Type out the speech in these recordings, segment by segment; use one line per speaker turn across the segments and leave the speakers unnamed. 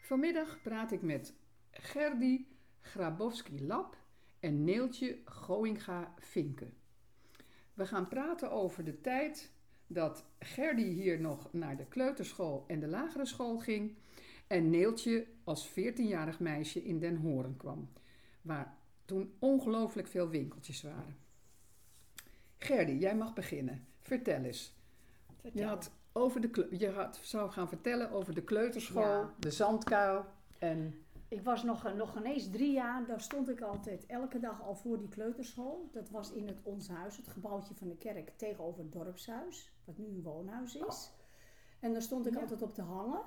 Vanmiddag praat ik met Gerdy Grabowski-Lap en Neeltje Goinga-Vinke. We gaan praten over de tijd dat Gerdy hier nog naar de kleuterschool en de lagere school ging en Neeltje als 14-jarig meisje in Den Horen kwam, waar toen ongelooflijk veel winkeltjes waren. Gerdy, jij mag beginnen. Vertel eens. Je
Vertel.
had, over de kle- je had, zou gaan vertellen over de kleuterschool,
Ja.
de zandkuil en...
Ik was nog, eh, nog ineens drie jaar, daar stond ik altijd elke dag al voor die kleuterschool. Dat was in het Ons Huis, het gebouwtje van de kerk tegenover het dorpshuis, wat nu een woonhuis is. En daar stond ik altijd op te hangen,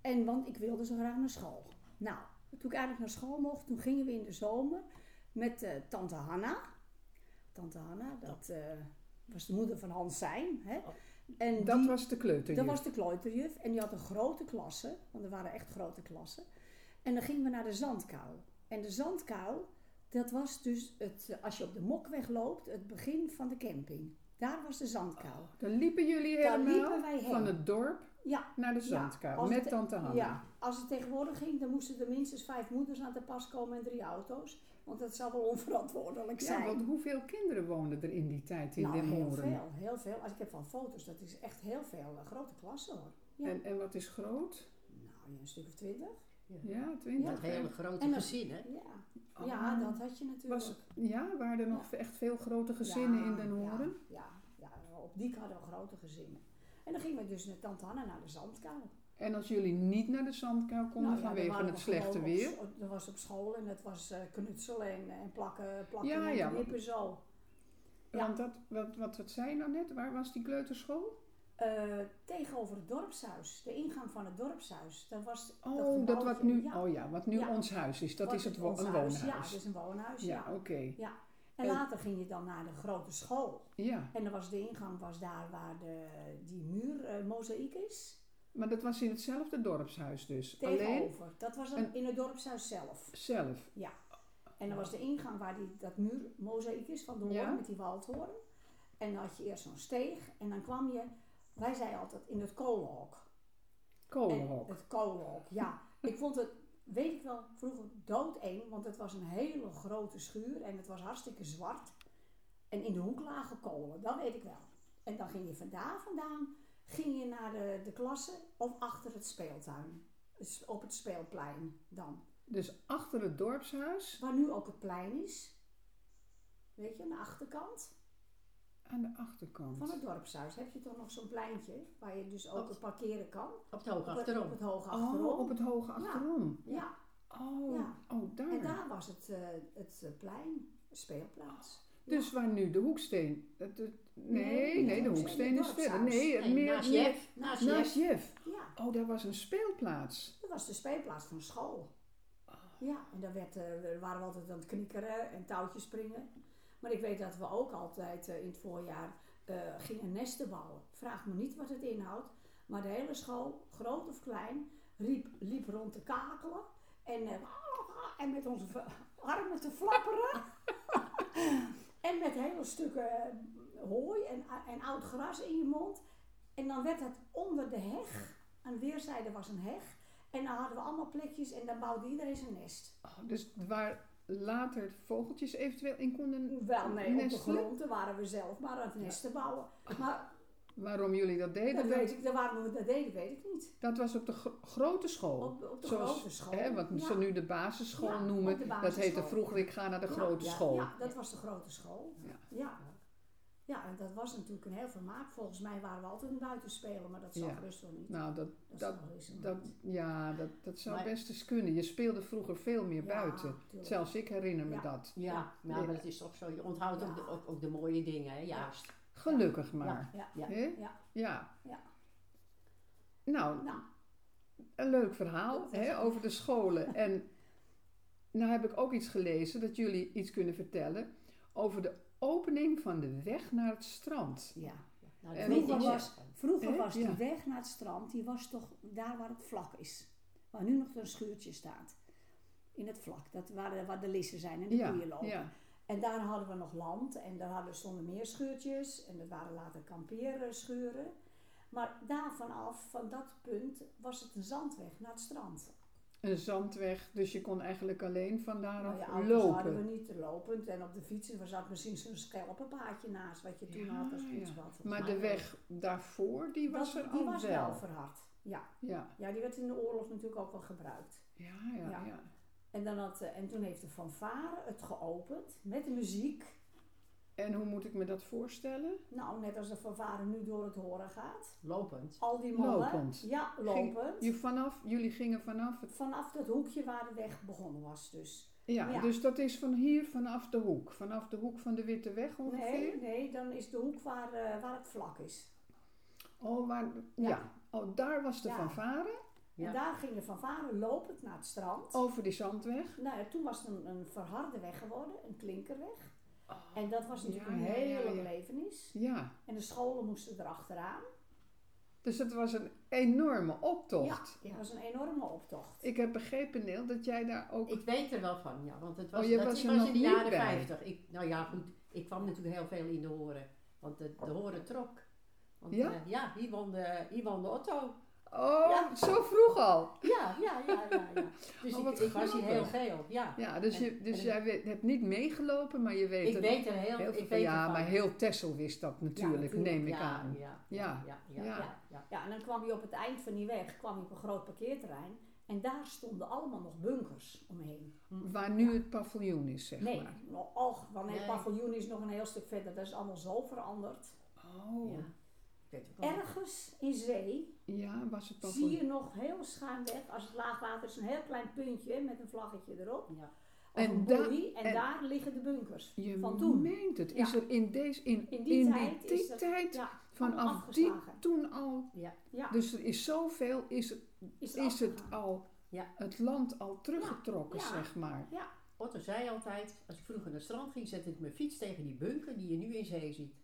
en, want ik wilde zo graag naar school. Nou, toen ik eigenlijk naar school mocht, toen gingen we in de zomer met eh, tante Hanna. Tante Hanna, dat eh, was de moeder van Hans Zijn. Hè? En
Dat
die-
was de kleuter.
Dat was de kleuterjuf en die had een grote klasse, want er waren echt grote klassen. En dan gingen we naar de zandkuil. En de zandkuil, dat was dus het, eh, als je op de mokweg loopt, het begin van de camping. Daar was de zandkuil.
Daar liepen jullie
Daar
helemaal
liepen wij heen.
Oh, van Oh, het dorp
Ja,
naar de
Ja,
zandkuil
als
met
het-
tante Hanna.
ja, als het tegenwoordig ging, dan moesten er minstens vijf moeders aan te pas komen en drie auto's. Want dat zou wel onverantwoordelijk
Ja,
zijn.
want hoeveel kinderen woonden er in die tijd in
nou,
Den
heel
Horen?
veel, heel veel. Als ik heb van foto's, dat is echt heel veel. Een grote klasse hoor. Ja.
En, en wat is groot?
nou, een stuk of twintig.
Ja,
Dat
twintig.
hele grote
En dat-
gezin, hè?
Ja. Ja, dat had je natuurlijk.
was, ja, waren er nog echt veel grote gezinnen
Ja,
in Den Horen?
Ja, ja, ja, op die hadden we grote gezinnen. En dan gingen we dus met tante Hanna naar de zandkuil.
En als jullie niet naar de zandkuil konden
Nou ja, dan
vanwege
waren
het
we
slechte
gewoon op
weer,
scho- Dat was op school en dat was eh, knutselen en, en plakken, plakken
Ja,
en
ja,
knippen zo. ja.
want dat, wat, wat, wat zei je nou net, waar was die kleuterschool?
Eh, tegenover het dorpshuis, de ingang van het dorpshuis. Dat was
Oh, dat, wat
gebouwtje,
nu,
ja,
oh ja, wat nu
Ja.
ons huis is, dat
wat
is het wo-
ons
een
huis,
woonhuis.
Ja, dat is een woonhuis, ja.
Ja, oké.
Ja.
En-
En, later ging je dan naar de grote school.
Ja,
En dan was de ingang was daar waar de, die muurmozaïek is.
maar dat was in hetzelfde dorpshuis dus. Alleen
Tegenover. dat was een,
een-
in het dorpshuis zelf.
zelf.
En dan was de ingang waar die, dat muurmozaïek is van de hoorn
Ja.
met die waldhoorn. En dan had je eerst zo'n steeg en dan kwam je, wij zeiden altijd, in het kolenhok. En
Kolenhok.
Het kolenhok, ja. ik vond het, weet ik wel, vroeger doodeng, want het was een hele grote schuur en het was hartstikke zwart. En in de hoek lagen kolen, dat weet ik wel. En dan ging je vandaar vandaan, ging je naar de, de klasse of achter het speeltuin. Dus Op het speelplein dan.
Dus achter het dorpshuis,
Waar nu ook het plein is. Weet je, aan de achterkant
aan de achterkant.
van het dorpshuis heb je toch nog zo'n pleintje. Waar je dus ook parkeren kan.
Op het hoog
Op het- Op
achterom.
het hoge achterom.
Oh, op het hoge achterom.
Ja,
Oh,
Ja.
oh daar.
en daar was het, eh, het eh, plein, speelplaats.
Dus waar nu de hoeksteen. het- het- nee,
Nee,
nee,
nee,
de
het
hoeksteen is
dorpshuis.
verder. Nee,
Nee,
meer,
naast
meer-
Jeff. Naast
naast
Jeff.
Jef.
Nou, Ja,
Oh, daar was een speelplaats.
dat was de speelplaats van school. Ja, en daar werd, eh, waren we altijd aan het knikkeren en touwtjes springen. Maar ik weet dat we ook altijd eh, in het voorjaar eh, gingen nesten bouwen. Vraag me niet wat het inhoudt. Maar de hele school, groot of klein, riep, liep rond te kakelen. En, eh, en met onze v- armen te flapperen. en met hele stukken eh, hooi en, en oud gras in je mond. En dan werd het onder de heg. Aan weerszijden was een heg. En dan hadden we allemaal plekjes en dan bouwde iedereen zijn nest.
Oh, dus waar later vogeltjes eventueel in konden.
Wel, nee, op de
Nestelen?
grond daar waren we zelf maar aan het nesten bouwen. Maar
Waarom jullie dat
dat
deden,
weet ik, daar waren we dat deden, weet ik niet.
dat was op de gro- grote school.
Op, op de
Zoals-
grote school.
Hè, wat
Ja.
ze nu de basisschool
Ja,
noemen.
op de
Dat heette
basisschool.
vroeger, ik ga naar de
Ja,
grote
ja,
school.
Ja, dat was de grote school.
Ja.
Ja. ja. en dat was natuurlijk een heel vermaak. Volgens mij waren we altijd een buitenspeler, maar dat zal
Ja.
gerust wel niet.
Nou, dat,
Dat,
dat-
zal gerust wel
dat,
niet.
ja, dat, dat zou
Maar-
best eens kunnen. Je speelde vroeger veel meer
Ja,
buiten.
tuurlijk.
Zelfs ik herinner me
Ja.
dat.
Ja, nou,
Ja.
maar
Ja.
dat is toch zo. Je onthoudt ook, de,
Ja.
ook, ook de mooie dingen, hè? Juist.
Gelukkig maar.
Ja,
Ja.
Hè?
Ja.
Ja.
Ja.
Nou,
nou,
een leuk verhaal
Dat is
hè,
het.
over de scholen. En nou heb ik ook iets gelezen dat jullie iets kunnen vertellen over de opening van de weg naar het strand.
ja.
Nou,
En
dat weet
vroeger
ik
was-
zelf.
Vroeger
Hè?
was die
Ja.
weg naar het strand, die was toch daar waar het vlak is. Waar nu nog een schuurtje staat. In het vlak, dat waar, de- waar de lissen zijn en de koeien lopen.
ja.
En daar hadden we nog land en daar hadden, stonden meer schuurtjes. En dat waren later kamperen, schuren. Maar daarvan af, van dat punt, was het een zandweg naar het strand.
een zandweg, dus je kon eigenlijk alleen van
Nou, je
daaraf
ouders hadden we
lopen.
niet lopend. En op de fiets was zat misschien zo'n schelpenpaadje naast wat je toen
Ja,
had als
ja.
fietsbad.
Maar de weg daarvoor, die was er
die
al
was
wel.
wel verhard. Ja.
Ja,
ja, die werd in de oorlog natuurlijk ook wel gebruikt.
ja, ja.
Ja.
ja.
En, dan had, eh, en toen heeft de fanfare het geopend met de muziek.
En hoe moet ik me dat voorstellen?
Nou, net als de fanfare nu door het horen gaat.
Lopend.
Al die mannen.
Lopend.
Ja, lopend.
Je vanaf, jullie gingen vanaf het...
Vanaf dat hoekje waar de weg begonnen was dus.
Ja,
Ja.
dus dat is van hier vanaf de hoek. Vanaf de hoek van de Witte Weg ongeveer?
Nee, nee, dan is de hoek waar, eh, waar het vlak is.
Oh, waar, ja.
Ja.
Oh, daar was de
Ja.
fanfare.
Ja.
En daar ging de fanfare lopend naar het strand.
Over die zandweg.
Nou ja, toen was het een, een verharde weg geworden, een klinkerweg. En dat was natuurlijk
Oh. Ja,
een
ja, ja,
hele
ja.
belevenis.
Ja.
En de scholen moesten erachteraan.
Dus het was een enorme optocht.
Ja,
Ja.
dat was een enorme optocht.
Ik heb begrepen, Neel, dat jij daar ook...
Ik weet er wel van, ja. Want het was,
Oh, je
dat
was
was,
er nog
in de
niet
jaren
bij.
50. Ik, nou ja, goed. Ik kwam natuurlijk heel veel in de horen. Want de, de horen trok. Want,
Ja?
eh, ja, hier won, de, hier won de Otto.
Oh,
Ja.
zo vroeg al.
Ja, ja, ja, ja. ja. Dus
Oh,
ik,
wat
ik was hier heel
grappig.
veel, ja.
Ja, dus, je, dus
en-
jij weet- hebt niet meegelopen, maar je weet
Ik
er
weet er heel,
heel
ik
veel
weet
van. Ja,
ervan.
maar heel Tessel wist dat natuurlijk,
natuurlijk.
neem ik
ja,
aan.
Ja,
Ja,
ja, ja, ja,
ja.
ja, ja.
Ja, en dan kwam je op het eind van die weg kwam je op een groot parkeerterrein. En daar stonden allemaal nog bunkers omheen.
Waar nu het paviljoen is, zeg
Nee,
maar.
nou, och, want het
Nee.
paviljoen is nog een heel stuk verder. Dat is allemaal zo veranderd.
Oh, ja,
Ik weet ook wel.
Oh.
Ergens in zee
was het
zie
paviljoen.
je nog heel schuin weg, als het laagwater is, een heel klein puntje met een vlaggetje erop.
Ja.
Of
En
een
da-
boei. en,
en-
daar liggen de bunkers
Je
van toen.
meent het. Is
Ja.
er in, deze, in,
In die tijd
die
is dat-
tijd
Ja, allemaal
vanaf die
afgeslagen.
toen al...
Ja.
Ja,
Dus er is zoveel, is het,
is,
is het
afgegaan.
al...
Ja.
Het land al teruggetrokken,
Ja.
zeg maar.
Otto zei altijd, als ik vroeger naar het strand ging, zette ik mijn fiets tegen die bunker die je nu in zee ziet.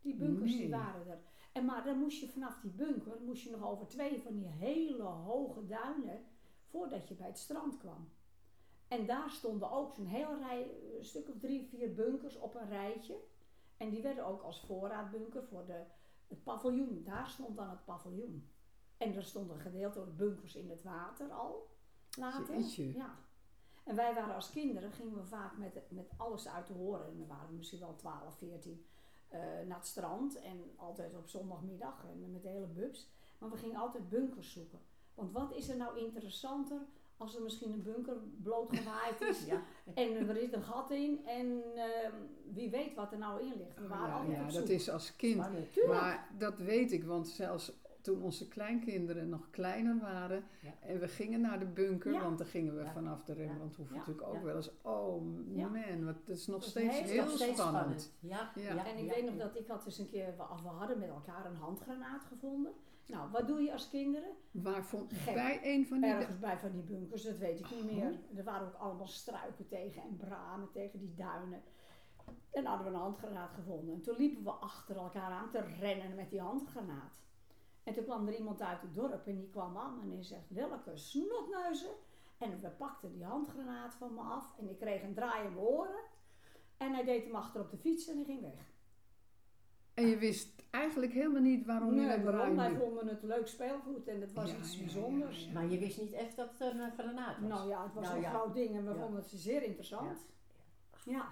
Die bunkers
Nee.
die waren er. En maar dan moest je vanaf die bunker moest je nog over twee van die hele hoge duinen voordat je bij het strand kwam. En daar stonden ook zo'n heel rij, een stuk of drie, vier bunkers op een rijtje. En die werden ook als voorraadbunker voor de, het paviljoen. Daar stond dan het paviljoen. En er stonden gedeeltelijk bunkers in het water al later.
Jeetje.
Ja. En wij waren als kinderen, gingen we vaak met, met alles uit de horen. En dan waren we misschien wel 12, 14 eh, naar het strand. En altijd op zondagmiddag en met de hele bubs. Maar we gingen altijd bunkers zoeken. Want wat is er nou interessanter als er misschien een bunker blootgewaaid is?
Ja.
En er zit een gat in en ehm, wie weet wat er nou in ligt. We waren
Ja,
altijd
ja,
op zoek.
dat is als kind.
Maar natuurlijk.
Maar dat weet ik, want zelfs toen onze kleinkinderen nog kleiner waren
Ja.
en we gingen naar de bunker,
Ja.
want dan gingen we
Ja.
vanaf de Rembrandthoeve
Ja.
natuurlijk ook
Ja.
wel eens. Oh
Ja.
man, wat, het is nog
Dat is
steeds
heel-
heel
Nog steeds
spannend.
Ja,
Ja.
ja,
En ik
ja.
weet nog dat ik had dus een keer, we, we hadden met elkaar een handgranaat gevonden. Nou, wat doe je als kinderen?
Waar vond
Gek.
bij een van die.
Ergens bij van die bunkers, dat weet ik niet
Oh.
meer. Er waren ook allemaal struiken tegen en bramen tegen die duinen. En hadden we een handgranaat gevonden. En toen liepen we achter elkaar aan te rennen met die handgranaat. En toen kwam er iemand uit het dorp en die kwam aan en die zegt, welke snotneuzen. En we pakten die handgranaat van me af en ik kreeg een draai in mijn oren. En hij deed hem achter op de fiets en hij ging weg.
En je wist eigenlijk helemaal niet waarom je
Nee,
hem
waarom?
ruimde.
Wij vonden het leuk speelgoed en het was
Ja,
iets
ja,
bijzonders.
ja,
Maar je wist niet echt dat het een eh, granaat was.
Nou ja, het was
Nou
een
ja.
groot ding en we
Ja.
vonden het zeer interessant. Ja.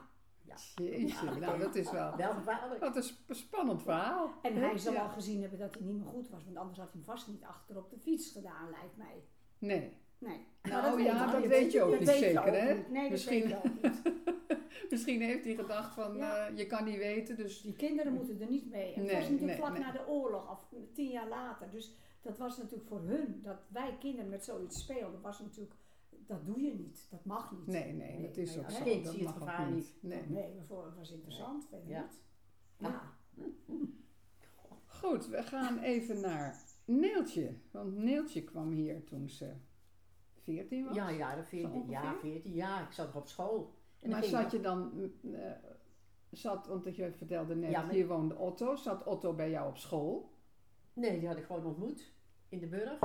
Jeetje, nou dat is wel.
Wel gevaarlijk.
Wat een sp- spannend verhaal.
En hij zal
Ja.
al gezien hebben dat hij niet meer goed was, want anders had hij hem vast niet achter op de fiets gedaan, lijkt mij.
Nee.
Nee.
Nou
Maar
ja,
weet
dat
je
weet je ook
Dat
niet
weet je
zeker,
ook
hè?
niet. Nee, dat
Misschien-
weet je ook niet.
Misschien heeft hij gedacht van
Ja.
eh, je kan niet weten, dus
Die kinderen moeten er niet mee. En het
Nee,
was natuurlijk
nee,
vlak
nee.
na de oorlog, of tien jaar later. Dus dat was natuurlijk voor hun, dat wij kinderen met zoiets speelden, was natuurlijk, dat doe je niet, dat mag niet.
nee, nee, dat is
nee,
ook
als
zo.
kind
dat
zie je
mag
het
ook
gevaar
niet. Nee.
Nee, maar voor het was interessant, verder
Ja.
niet.
Ja.
Ja.
Goed, we gaan even naar Neeltje. Want Neeltje kwam hier toen ze 14 was.
Ja, ja, dat
Zo
14,
ongeveer?
ja, 14 jaar. Ik zat nog op school. En
maar
dan ging
zat
ik-
je dan, eh, zat, want je vertelde net,
Ja, maar-
hier woonde Otto. Zat Otto bij jou op school?
Nee, die had ik gewoon ontmoet. In de burg.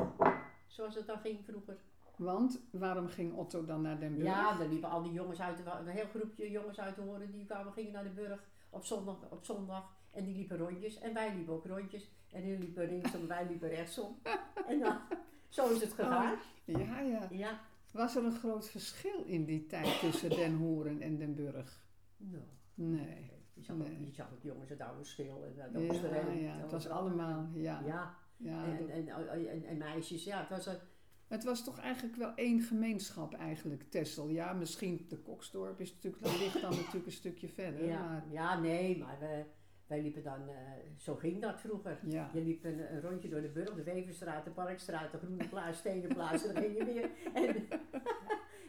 Zoals het dan ging vroeger.
Want waarom ging Otto dan naar Den Burg?
Ja, daar liepen al die jongens uit, de wa- een heel groepje jongens uit te horen. Die kwamen, gingen naar de burg op zondag, op zondag. En die liepen rondjes. En wij liepen ook rondjes. En die
Oh.
liepen linksom, wij liepen rechtsom. En dan, zo is het gegaan.
ja, ja.
Ja,
Was er een groot verschil in die tijd tussen Den Horen en Den Burg?
Nou,
Nee.
je, zag ook,
Nee.
je zag ook jongens uit oude schil. En, eh, uit
Ja,
Oosterheem.
ja,
Dat
het
was
was
allemaal.
allemaal, ja.
Ja,
ja dat-
en, en, en, en meisjes, ja, het was een,
Het was toch eigenlijk wel één gemeenschap eigenlijk, Tessel. Ja, misschien de Koksdorp is natuurlijk, dat ligt dan natuurlijk een stukje verder.
ja,
Maar
ja, nee, maar we, wij liepen dan, eh, zo ging dat vroeger.
ja,
Je liep een, een rondje door de Burg, de Weverstraat, de Parkstraat, de Groene Plaats, Stenenplaats, en dan ging je weer. En,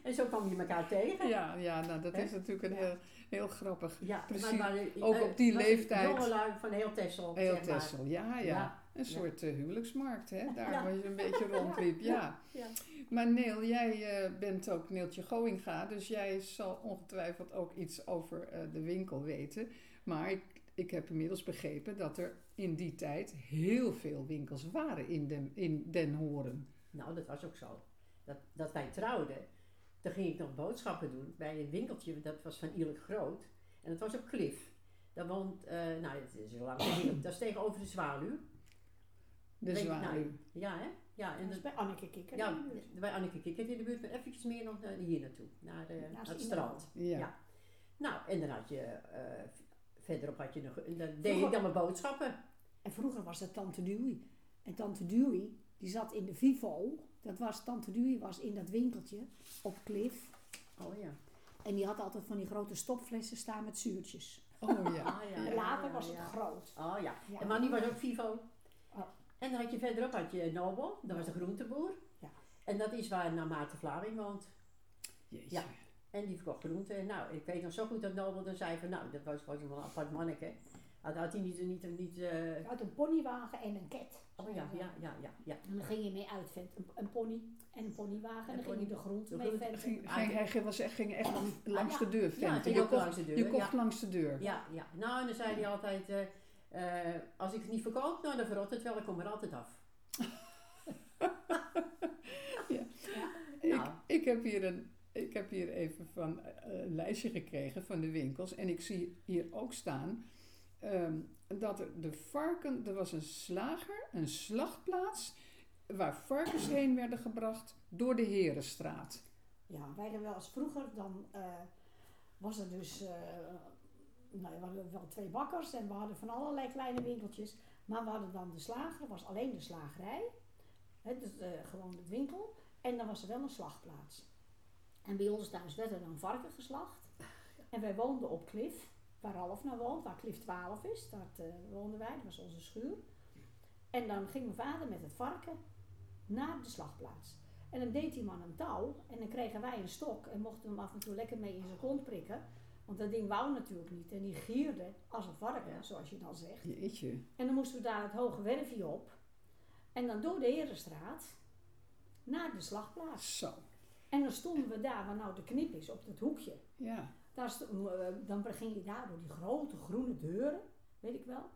en zo kwam je elkaar tegen.
ja, ja nou, dat
Hè?
is natuurlijk een
Ja.
heel, heel grappig.
Ja,
Precies.
waren,
Ook
eh,
op die
was
leeftijd.
Jongelui van heel Texel.
Heel
zeg maar.
Tessel, ja, ja. Een soort eh, huwelijksmarkt, hè? daar
Ja.
waar je een beetje rondliep, ja.
ja, ja.
Maar Neel, jij eh, bent ook Neeltje Goinga, dus jij zal ongetwijfeld ook iets over eh, de winkel weten. Maar ik, ik heb inmiddels begrepen dat er in die tijd heel veel winkels waren in Den, in Den Horen.
Nou, dat was ook zo. Dat, dat wij trouwden, dan ging ik nog boodschappen doen bij een winkeltje, dat was van Ierlijk Groot. En dat was op Cliff. Daar woont, eh, nou, dat is heel lang geleden, dat is tegenover de Zwaluw.
De
Weet-
zwaluw.
nou, ja, hè? Ja, en
Dat is
dat,
bij Anneke Kikker.
ja, bij Anneke Kikker in de buurt, maar eventjes meer nog naar, hier naartoe, naar, eh, naar het strand.
ja.
ja. Nou, en dan had je, eh, verderop had je nog, en dan deed ik dan mijn boodschappen.
En vroeger was dat Tante Dewey. En Tante Dewey, die zat in de Vivo. Dat was, Tante Dewey was in dat winkeltje op Cliff.
Oh ja.
En die had altijd van die grote stopflessen staan met zuurtjes.
Oh ja.
Ah,
En later
ja,
was het
ja.
groot.
Oh ja.
Ja.
En maar die was ook Vivo.
Oh.
En dan had je verderop had je Nobel, dat was de groenteboer.
Ja.
En dat is waar nou Maarten Vlaming woont.
Jeetje.
Ja. En die verkocht groenten. Nou, ik weet nog zo goed dat Nobel dan zei van, nou, dat was, was wel een apart manneke. Had, had hij niet, niet, niet, eh,
Uit een ponywagen en een cat.
oh ja, ja, ja, ja, ja.
En dan ging je mee uit, vent. Een, een pony en een ponywagen. En
Een
dan ging je de
pony.
groente
De
mee
groente-
verder.
Ging, ging, hij ging- was echt, ging echt langs de deur,
Ah, Ja,
vent.
ging
je
ook
kocht,
langs de deur.
je kocht
ja.
langs de deur.
ja, ja. Nou, en dan zei hij altijd, eh, eh, als ik het niet verkoop, nou, dan verrot het wel, ik kom er altijd af.
Ik,
Nou.
ik, heb hier een, ik heb hier even van eh, een lijstje gekregen van de winkels. En ik zie hier ook staan ehm, dat er de varken... Er was een slager, een slachtplaats... waar varkens heen werden gebracht door de Herenstraat.
Ja, wij hebben wel eens vroeger, dan eh, was er dus, eh, nou, we hadden wel twee bakkers en we hadden van allerlei kleine winkeltjes. Maar we hadden dan de slager, was alleen de slagerij, hè, dus, eh, gewoon het winkel. En dan was er wel een slagplaats. En bij ons thuis werd er dan varken geslacht. En wij woonden op Cliff, waar Ralf nou woont, waar Cliff 12 is. Daar eh, woonden wij, dat was onze schuur. En dan ging mijn vader met het varken naar de slagplaats. En dan deed die man een touw en dan kregen wij een stok en mochten we hem af en toe lekker mee in zijn kont prikken. Want dat ding wou natuurlijk niet en die gierde als een varken,
Ja.
zoals je dan zegt.
Jeetje.
En dan moesten we daar het hoge werfje op en dan door de Herenstraat naar de slagplaats.
Zo.
En dan stonden we daar waar nou de knip is, op dat hoekje.
Ja.
Daar sto- eh, dan ging je daar door die grote groene deuren, weet ik wel.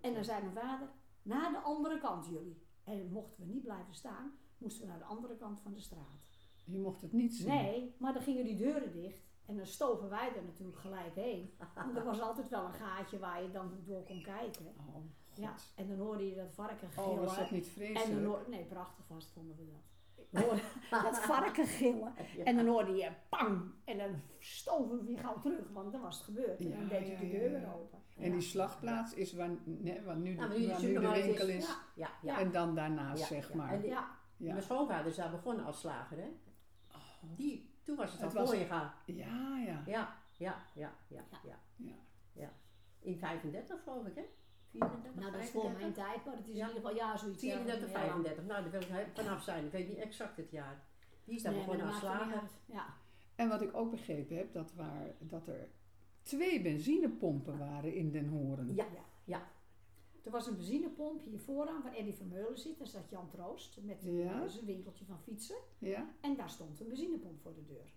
En dan zei mijn vader, naar de andere kant jullie. En mochten we niet blijven staan, moesten we naar de andere kant van de straat.
Je mocht het niet zien.
Nee, maar dan gingen die deuren dicht. En dan stoven wij er natuurlijk gelijk heen. Want er was altijd wel een gaatje waar je dan door kon kijken.
Oh, God.
Ja, en dan hoorde je dat varken gillen.
Oh, was dat niet
en dan
vreselijk?
hoor- nee, prachtig was het, vonden we dat. Dan hoorde- dat varken gillen. En dan hoorde je pang. En dan stoven we weer gauw terug, want dan was het gebeurd. En dan
Ja,
deed je
ja,
de
ja,
deur
ja.
weer open.
En die slagplaats is waar, nee, waar nu de,
Ja, Nou, maar nu de
waar nu de
supermarkt
winkel
is.
is.
Ja,
Ja, ja.
En dan daarnaast,
Ja,
zeg
ja.
maar.
En die-
ja.
Ja.
Mijn schoonvader is daar begonnen als slager, hè? Die, toen was het al
Het was-
voor je gaan.
Ja, ja.
Ja, ja, ja, ja,
Ja.
ja.
Ja.
In 35 geloof ik, hè? 34,
Nou, dat is
35?
voor mijn tijd, maar het is
Ja.
in ieder geval, ja, zoiets. ja.
34,
Ja.
35. Nou, daar wil ik he- vanaf zijn. Ik weet niet exact het jaar. Die is daar
Nee, maar
begonnen
dat
als
maakt er niet
slager.
uit. Ja.
En wat ik ook begrepen heb, dat, waar, dat er twee benzinepompen waren in Den Horen.
Ja,
Ja.
ja.
Er was een benzinepomp hier vooraan waar Eddie Vermeulen zit. Daar zat Jan Troost met eh,
Ja.
zijn winkeltje van fietsen.
Ja?
En daar stond een benzinepomp voor de deur.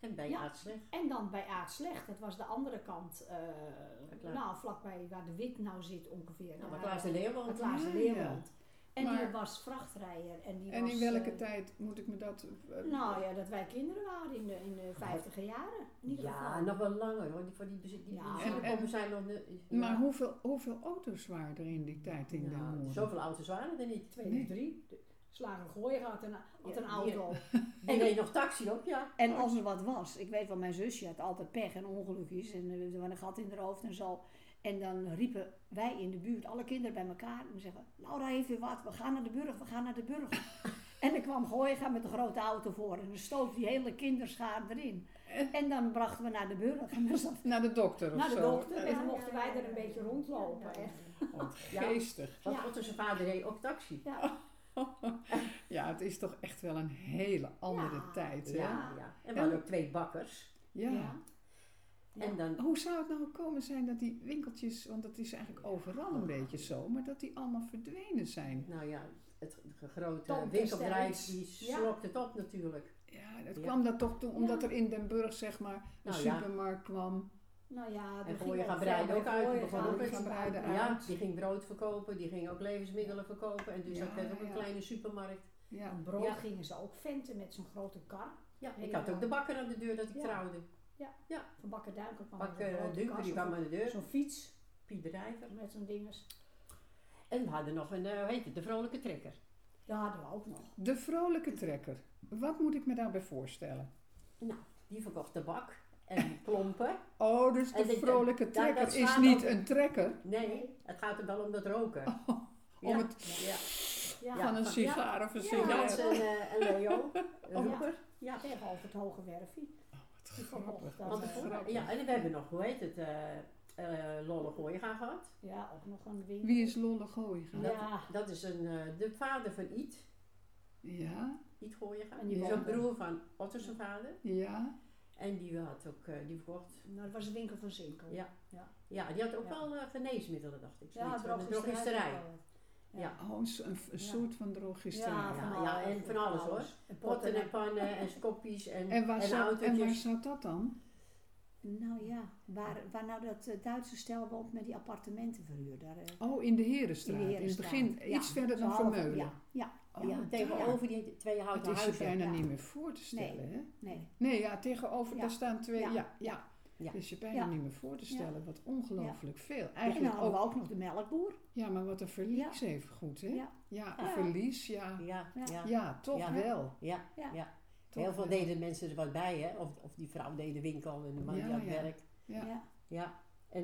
En bij
Ja.
Aardsweg.
En dan bij Aardslecht, dat was de andere kant, eh,
Klaar.
nou vlakbij waar de Wit nou zit ongeveer.
Nou, maar
Daar,
Klaas de
eh,
Leeuw
waar
woont.
Klaas de
Ja,
Leeuw
ja.
woont. En
Maar-
die was vrachtrijder. En, die
En
was,
in welke
eh,
tijd moet ik me dat... eh,
Nou ja, dat wij kinderen waren in de, in de vijftiger jaren. In ieder
Ja,
geval.
nog wel langer hoor. Die, voor die, die, die
Ja.
die benzinepompen
En- en-
zijn nog... de-
Maar
ja.
hoeveel, hoeveel auto's waren er in die tijd in Den
Nou,
Horen?
Zoveel auto's waren er niet.
Twee of drie. slagen gooien gehad en had een
Ja,
auto.
Die reed nog taxi op, ja.
En als er wat was, ik weet wel, mijn zusje had altijd pech en ongelukjes en eh, er was een gat in haar hoofd en zo. En dan riepen wij in de buurt, alle kinderen bij elkaar, en zeggen: Laura heeft weer wat, we gaan naar de burg, we gaan naar de burg. en er kwam Gooiga met een grote auto voor en dan stoof die hele kinderschaar erin.
Eh.
En dan brachten we naar de burg en dan zat
Naar de dokter of
Naar de
zo. Oh,
dokter en
Ja,
dan
ja,
mochten wij er een beetje rondlopen.
ja, ja.
echt.
Wat
Ja.
geestig.
Want
Ja.
Otto zijn vader reed ook taxi.
ja,
Ja, het is toch echt wel een hele andere
Ja.
tijd. Hè?
Ja, ja. En we hadden ook twee bakkers.
Ja.
Ja.
En dan
Hoe zou het nou komen zijn dat die winkeltjes, want dat is eigenlijk overal een beetje zo, maar dat die allemaal verdwenen zijn?
Nou ja, het g- grote
Tom
winkelbedrijf
Terstijds.
die
Ja.
slokt het op natuurlijk.
Ja, dat
Ja.
kwam dat toch toen, omdat er in Den Burg zeg maar een
Nou ja.
supermarkt kwam.
Nou ja, er
En
ging
Gooien
ook
gaan
veel
breiden
bij
ook uit. Die
Gooien
begon
gaan.
ook met
Gaan breiden
Ja,
uit.
die ging brood verkopen, die ging ook levensmiddelen verkopen. En dus
Ja,
dat werd ook een
ja.
kleine supermarkt.
Ja.
Aan brood
Ja.
gingen ze ook venten met zo'n grote kar.
Ja,
Nee,
ik had
ja.
ook de bakker aan de deur dat ik
Ja. Oh,
trouwde.
Van Bakker Duinker kwam met
Bakker
een
eh,
grote
Dunker,
kar,
die kwam
zo'n-
aan de deur.
Zo'n fiets
Piet Drijver.
met zo'n dinges.
En we hadden nog een, eh, hoe heet het, de vrolijke trekker.
Dat hadden we ook nog.
De vrolijke trekker. Wat moet ik me daarbij voorstellen?
Die verkocht tabak en klompen.
Oh, dus de
En dat-
vrolijke
dat-
trekker
dat
is
slaat
niet
ook-
een trekker
Nee, het gaat er wel om dat roken.
Oh, om
Ja.
het
Ja.
Ja,
Ja.
van een sigaar of een
Ja.
sigaret.
Jans en, eh, en Leo, een
ja.
roeper. Ja.
tegenover het Hoge Werfie.
Oh, Wat
Die
grappig.
verkocht dat,
Wat
eh,
grappig.
Ja, en we hebben nog, hoe heet het, eh eh Lolle Gooiega gehad.
Ja, ook nog een winkel.
Wie is Lolle Gooiga?
Dat-
Ja,
Dat is een, eh, de vader van Iet,
Ja,
Iet Gooiega.
En
En
die
die is een
woonde-
broer van Otto zijn vader.
ja.
En die had ook, eh, die verkocht.
nou, dat was de winkel van Zinkel.
Ja. Ja, die had ook
Ja.
wel eh, geneesmiddelen, dacht ik.
ja
zoiets van de drogisterij.
drogisterij.
Oh, een, een soort van drogisterij.
Ja,
Ja,
van
ja,
alles,
en van
van
alles hoor.
alles. En
Potten
potten
en pannen en skoppies en,
En waar,
en
zou, en waar
autootjes.
zou dat dan?
nou ja, waar, waar nou dat eh, Duitse stel woont met die appartementen verhuur. Daar, eh,
Oh, in de Herenstraat. In, het
Herenstraat.
begin
Ja,
iets verder
zo
dan
half-
Vermeulen.
Ja, ja,
Oh,
ja.
daar.
Tegenover die twee
Het
houten
is je
huizen.
bijna
ja.
niet meer voor te stellen, hè?
nee.
Nee, ja, tegenover,
Ja.
daar staan twee, ja,
Ja.
ja.
Ja.
Dus je bijna
Ja.
niet meer voor te stellen. Wat ongelooflijk veel.
En dan
Eigenlijk
nou,
hadden
ook,
we ook nog de melkboer.
ja, maar wat een verlies even goed, hè? Ja,
Ja.
een
Ja.
verlies, ja.
Ja,
Ja.
ja,
Ja, toch
Ja.
wel.
ja.
Ja.
ja.
Toch
Heel veel
wel.
deden mensen er wat bij, hè. Of, of die vrouw deed de winkel en de man
Ja,
die had
ja.
werk.
Ja.
Ja.
Ja, en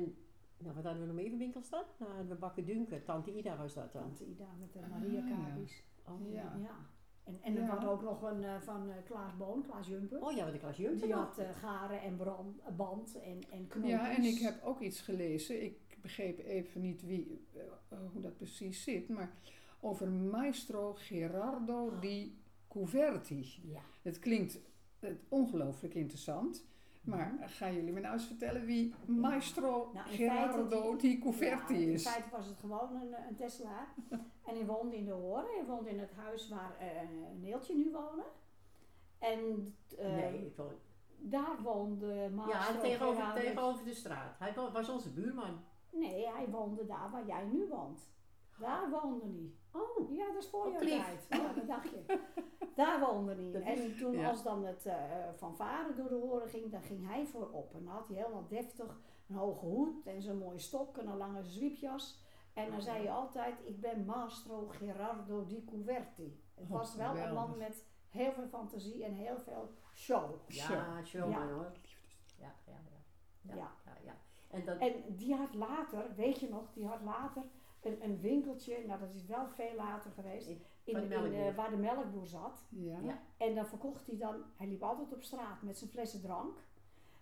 nou, wat hadden we nog meer voor winkels dan? Nou, hadden we Bakken Dunker, Tante Ida was dat dan.
Tante Ida met de
Ah,
Maria
ja.
Kabis.
Oh
Ja.
Ja. En, en er
Ja.
was ook nog een eh, van eh, Klaas Boon, Klaas Jumper.
Oh ja, wat een klas jumper
Die
nog.
had eh, garen en brand, eh, band en, en knoopjes.
Ja, en ik heb ook iets gelezen. Ik begreep even niet wie, eh, eh, hoe dat precies zit, maar over maestro Gerardo di Cuverti.
Ja.
Het klinkt eh, ongelooflijk interessant. Maar
Mhm.
gaan jullie me nou eens vertellen wie Maestro
Nou, in
Gerardo
feite
di Cuverti
Ja, In
is?
feite was het gewoon een, eh, een Tesla. en hij woonde in de Horen. Hij woonde in het huis waar eh Neeltje nu woonde. En eh,
nee, ik wil-
daar woonde Maastro
ja, tegenover,
Gerardus.
tegenover de straat. Hij wa- was onze buurman.
Nee, hij woonde daar waar jij nu woont. Daar woonde hij.
Oh,
Ja, dat is voor
Op
jouw
Klief.
tijd. Ja, dat dacht je. Daar woonde hij.
Dat
En toen
ja.
als dan het eh, van varen door de horen ging, dan ging hij voorop. En dan had hij helemaal deftig een hoge hoed en zo'n mooie stok en een lange zwiepjas. En dan zei hij altijd, ik ben Maestro Gerardo di Cuverti. Het
Oh,
was wel een man
geweldig.
met heel veel fantasie en heel veel show.
ja, showman hoor. Ja, ja, ja. Ja,
Ja.
ja. ja. En dat,
En die had later, weet je nog, die had later een, een winkeltje, nou dat is wel veel later geweest,
In-
in,
van de
in,
melkboer.
eh, waar de melkboer zat.
Ja.
Ja.
En dan verkocht hij dan, hij liep altijd op straat met zijn flessen drank.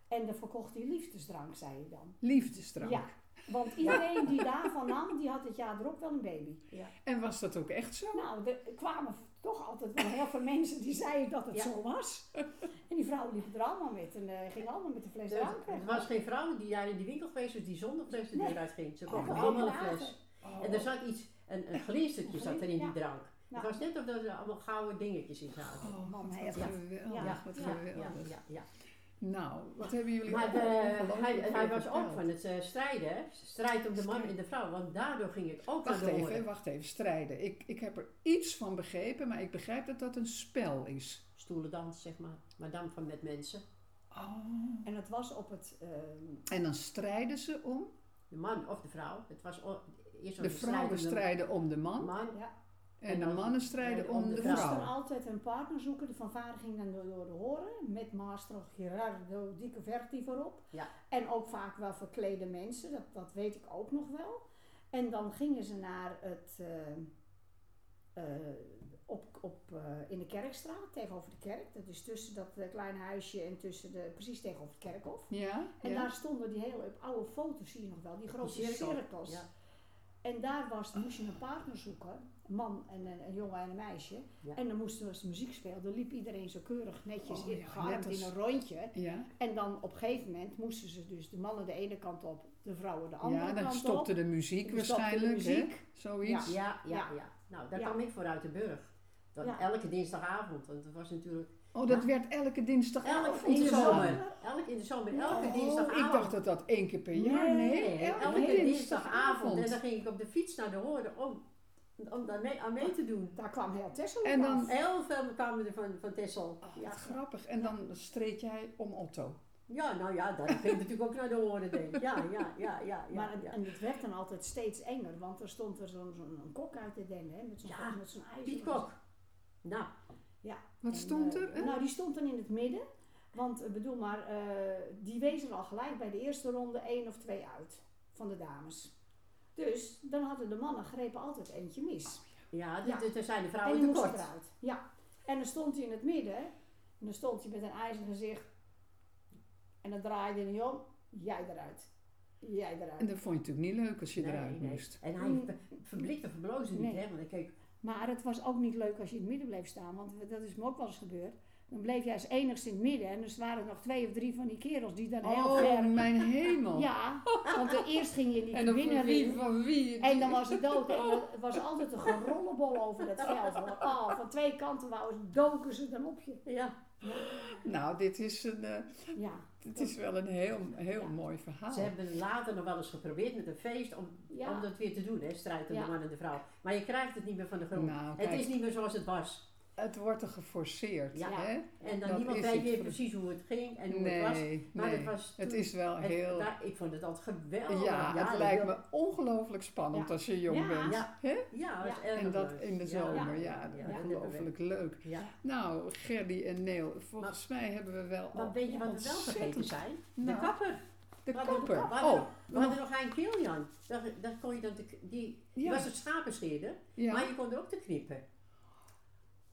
En dan verkocht hij liefdesdrank, zei hij dan.
Liefdesdrank.
Ja, want iedereen die daarvan nam, die had het jaar erop wel een baby.
En was dat ook echt zo?
Nou, er kwamen toch altijd wel heel veel mensen die zeiden dat het
Ja.
zo was. En die vrouw liep er allemaal met en eh, ging allemaal met de fles
er
drank
er
weg.
was geen vrouw die daar in die winkel geweest was die zonder fles de
Nee.
deur uitging. Ze
Oh,
kochten
nee.
allemaal een
Later.
fles.
Oh.
En dus- er zat iets, een, een glinstertje zat er in die
Ja.
drank.
Ja.
Het was net of er allemaal gouden dingetjes in zaten.
Oh,
Man,
wat
hij heeft-
geweldig,
ja,
wat
ja, ja,
geweldig.
ja, ja.
Nou, wat hebben jullie
Maar de,
ongelooflijk
hij,
veel
hij was ook
verteld.
van het eh, strijden, hè? strijd om de man en de vrouw, want daardoor ging het ook aan
Wacht
de
even, hè,
horen.
wacht even, strijden. Ik, ik heb er iets van begrepen, maar ik begrijp dat dat een spel is.
Stoelendans, zeg maar, maar dan van met mensen.
Oh.
En het was op het, ehm,
En dan strijden ze om?
De man of de vrouw, het was o- eerst was
De
een strijd om
vrouwen strijden om de man.
man
ja,
En de mannen strijden om de
vrouw.
moest dan
vrouw.
altijd een partner zoeken. De fanfare ging dan door, door de horen. Met Maestro Gerardo Di Verti voorop.
Ja.
En ook vaak wel verklede mensen. Dat, dat weet ik ook nog wel. En dan gingen ze naar het... eh, eh, op, op, eh, in de kerkstraat, tegenover de kerk. Dat is tussen dat eh, kleine huisje en tussen de... Precies tegenover het kerkhof.
Ja,
En
ja.
daar stonden die hele oude foto's, zie je nog wel, die grote
Die cirkel,
cirkels.
ja.
En daar was, moest je een partner zoeken, een man en een, een jongen en een meisje.
Ja.
En dan moest er als de muziek speelde, liep iedereen zo keurig netjes
Oh,
in,
ja,
gearmd
net als-
in een rondje.
Ja,
En dan op een gegeven moment moesten ze dus de mannen de ene kant op, de vrouwen de andere
ja, dan
kant
stopte
op.
de muziek
Dan stopte de
waarschijnlijk, hè?
muziek.
Zoiets.
Ja, ja,
Ja.
ja. Nou, daar
Ja.
kwam ik voor uit de burg. Dan
Ja.
Elke dinsdagavond, want het was natuurlijk...
Oh, dat werd elke dinsdag
Elk in de
de
zomer.
zomer.
Elk in de zomer, elke
Oh,
dinsdagavond.
ik dacht dat dat één keer per jaar. Nee, elke, dinsdagavond.
En dan ging ik op de fiets naar de horen om, om daar mee, aan mee te doen.
Daar kwam heel Tessel op
En dan-
af.
Heel veel kwamen er van, van Tessel.
Oh,
Ja.
wat grappig. En dan streed jij om Otto.
ja, nou ja, dat ging natuurlijk ook naar de horen, denk ik. Ja, ja, ja, ja. ja,
Maar het-
ja.
en het werd dan altijd steeds enger, want er stond er zo'n zo'n- een kok uit te den, hè, met zo'n
Ja,
met zo'n ijzer.
Piet Kok. Nou,
Wat
En,
stond
eh,
er? hè?
nou, die stond dan in het midden. Want eh, bedoel maar, eh, die wezen al gelijk bij de eerste ronde één of twee uit van de dames. Dus dan hadden de mannen grepen altijd eentje mis.
ja,
Ja.
d- d- er zijn de
en
vrouwen
die moest
tekort.
eruit. Ja. En dan stond hij in het midden. En dan stond hij met een ijzer gezicht. En dan draaide hij om. Jij eruit. Jij eruit.
En dat vond je natuurlijk niet leuk als je
Nee,
eruit
nee.
moest.
En
Mm.
hij ver- verblikte, verbloosde niet,
Nee.
hè, want ik keek
Maar het was ook niet leuk als je in het midden bleef staan, want dat is me ook wel eens gebeurd. Dan bleef jij als enigste in het midden en dus waren er nog twee of drie van die kerels die dan heel
Oh,
ver...
mijn hemel.
Ja, want de eerst ging je
En
niet
dan van wie,
winnen.
van wie?
En dan
die-
was het dood. En er was altijd een gerollebol over dat veld. hoor. Oh, van twee kanten wou ze, doken ze dan op je.
Ja,
Nou, dit is, een, eh,
Ja,
dit is wel een heel, heel
Ja.
mooi verhaal.
ze hebben later nog wel eens geprobeerd met een feest om,
Ja.
om dat weer te doen, hè, strijd om
Ja.
de man en de vrouw. Maar je krijgt het niet meer van de grond.
Nou,
het
kijk.
is niet meer zoals het was.
Het wordt er geforceerd,
Ja.
hè?
En dan
Dat
niemand
is
weet
het.
meer precies hoe het ging en hoe
nee,
het was.
nee.
Maar het was
Het
toen-
is wel
Het-
heel...
daar- ik vond het altijd geweldig.
ja, het
dat
lijkt
wil-
me ongelooflijk spannend
Ja.
als je jong
Ja.
bent.
Ja,
Hè?
ja, dat is erg
En dat
leuk.
in de
Ja.
zomer, ja,
Ja,
dat
dat
ongelooflijk leuk.
Ja.
Nou, Gerdy en Neel, volgens mij hebben we wel al
Maar weet je wat we wel
ontzettend-
vergeten zijn? De
Nou,
kapper.
de
Wat doen we?
kapper.
Wat
Oh,
We hadden nog een Kilian. Dat, dat kon je dan te- die, die
Ja.
was een schapenscheerder,
ja.
maar je kon er ook te knippen.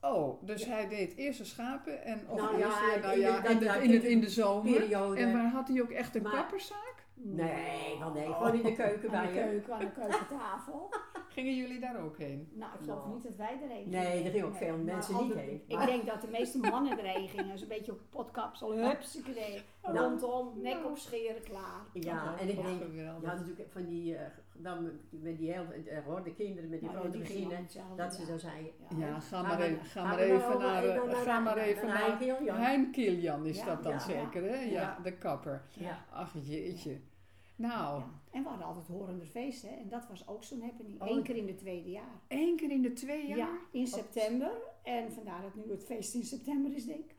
Oh, dus hij deed eerst de schapen en of
Nou
eerst,
ja,
ja, nou
in de-
ja, in, de,
dat-
in, het- in de zomer.
Periode.
En waar had hij ook echt een
Maar-
kapperszaak?
Mm.
Nee, wel nee, gewoon in de
Oh.
keuken
Aan
bij
de
je.
keuken, aan de keukentafel.
Gingen jullie daar ook heen?
nou, ik geloof
Nou.
niet dat wij erheen
Nee, er gingen ook
Nee,
veel mensen
maar
niet
altijd-
heen.
ik denk dat de meeste mannen erheen gingen. Zo'n beetje op potkapsel, hupsakee,
Nou.
rondom, nek opscheren, klaar.
Ja, en ik
Oh,
denk, je
geweldig.
had natuurlijk van die, eh, dan met- met die heel, eh, hoor, de kinderen met die
Nou ja,
grote
die gingen
gezinnen,
allemaal
dat ze
hetzelfde,
dan zeiden,
Ja, ga
Gaan
maar
we-
even, ga
gaan
maar
we
even
nou
naar,
over-
eh,
naar-
ga maar
naar-
even
naar
naar
Hein Kilian.
Hein Kilian is
Ja,
dat dan
ja.
zeker, hè? Ja,
Ja.
de kapper.
ja.
Ach jeetje. Nou,
Ja. En we hadden altijd horende feesten. En dat was ook zo'n happening.
Oh.
Eén keer in het tweede jaar.
één keer in de twee jaar?
in september. En vandaar dat nu het feest in september is, denk ik.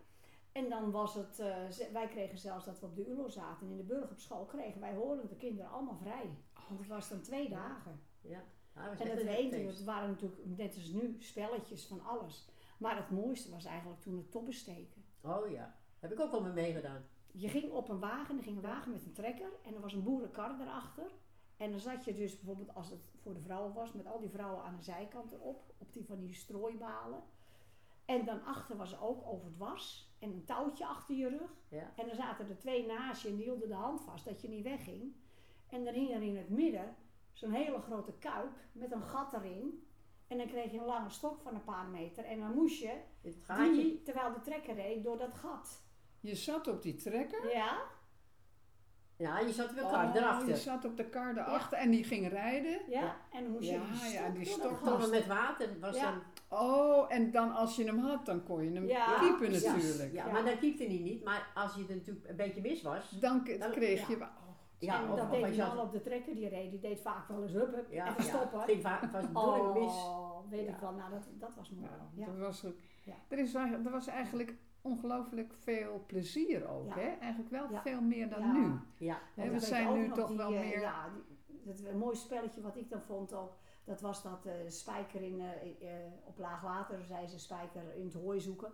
En dan was het, eh, ze- wij kregen zelfs dat we op de ULO zaten en in de burger op school kregen wij horende kinderen allemaal vrij. Dat was dan twee dagen.
Ja, dat was
En
echt
het
een
weten,
feest.
het waren natuurlijk net als nu spelletjes van alles. Maar het mooiste was eigenlijk toen het toppen steken.
Oh ja, heb ik ook al mee meegedaan.
Je ging op een wagen, er ging een wagen met een trekker en er was een boerenkar erachter. En dan zat je dus bijvoorbeeld, als het voor de vrouwen was, met al die vrouwen aan de zijkant erop, op die van die strooibalen. En dan achter was ook overdwars en een touwtje achter je rug.
Ja.
En dan zaten er twee naast je en die hielden de hand vast dat je niet wegging. En dan hing er in het midden zo'n hele grote kuip met een gat erin. En dan kreeg je een lange stok van een paar meter. En dan moest je,
In het gaatje.
die, terwijl de trekker reed, door dat gat.
Je zat op die trekker.
Ja?
Ja, je zat wel elkaar
Oh, je
erachter.
zat op de kar erachter en die ging rijden.
Ja, en dan moest je
Ja,
die stok
ja, die
door
stok
dat
door
gat.
Tonnen met water was
Ja.
dan...
Oh, en dan als je hem had, dan kon je hem
Ja,
kiepen
precies.
natuurlijk.
Ja,
Ja.
maar dan kiepte hij niet. Maar als je er natuurlijk een beetje mis was...
Dan k-
Dan-
kreeg
ja.
je... oh,
Ja,
en
of,
dat
of
deed
als
die
je had-
man op de trekker, die reed, die deed vaak wel eens hup, hup,
Ja,
even stoppen.
ja, het ging vaak- het was
oh,
bedoeling mis.
weet ik
Ja.
wel, nou dat, dat was mooi.
nou,
ja.
dat was ook-
Ja.
er, is, eigenlijk- er was eigenlijk ongelooflijk veel plezier ook,
Ja.
hè? Eigenlijk wel
Ja.
veel meer dan
Ja.
nu. Oh,
Ja,
Hè,
Want
we
ik weet
zijn
ook
nu
nog
toch
die,
wel
eh,
meer...
Ja, die- dat een mooi spelletje wat ik dan vond ook.
Dat was dat eh, spijker in, eh, eh, op laag water, zei ze, spijker in het hooi zoeken.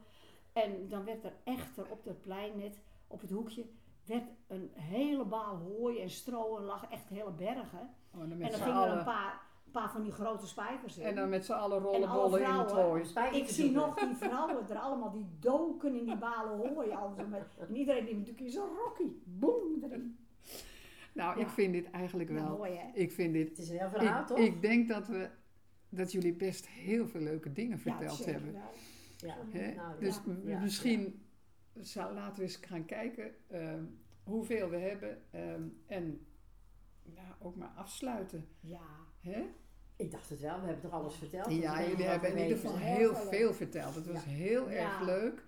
En dan werd er echter op dat plein net, op het hoekje, werd een hele baal hooi en stro en lag echt hele bergen.
Oh, en dan
en
met
dan
z'n
gingen er
allen,
een paar, een paar van die grote spijkers in.
en dan met z'n allen
en alle
rollenbollen in het
vrouwen.
hooi.
Spijker
Ik
te
zie
zoeken.
nog die vrouwen er allemaal, die doken in die balen hooi. Alles met, en iedereen die natuurlijk in zijn rokkie. Boem, erin.
Nou, ik
Ja.
vind dit eigenlijk
Nou,
wel.
mooi hè?
Ik vind dit.
Het is een heel verhaal,
Ik,
toch?
ik denk dat we dat jullie best heel veel leuke dingen verteld
zeker
hebben.
wel.
ja.
Hè?
Nou,
dus
ja,
m-
ja,
misschien zou- laten we eens gaan kijken ehm, hoeveel we hebben ehm, en ja, ook maar afsluiten.
Ja,
Hè?
Ik dacht het wel, we hebben toch alles verteld? Dus ik
Ja,
weet
jullie
niet wat
hebben
we
in ieder
weten.
geval
Heel
heel
veel
veel verteld. Het was heel
Ja.
erg leuk.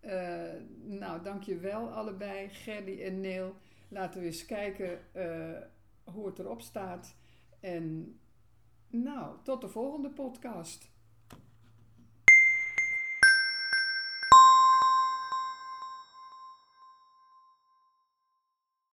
Eh nou, dankjewel allebei, Gerdy en Neil. Laten we eens kijken eh, hoe het erop staat. En nou, tot de volgende podcast.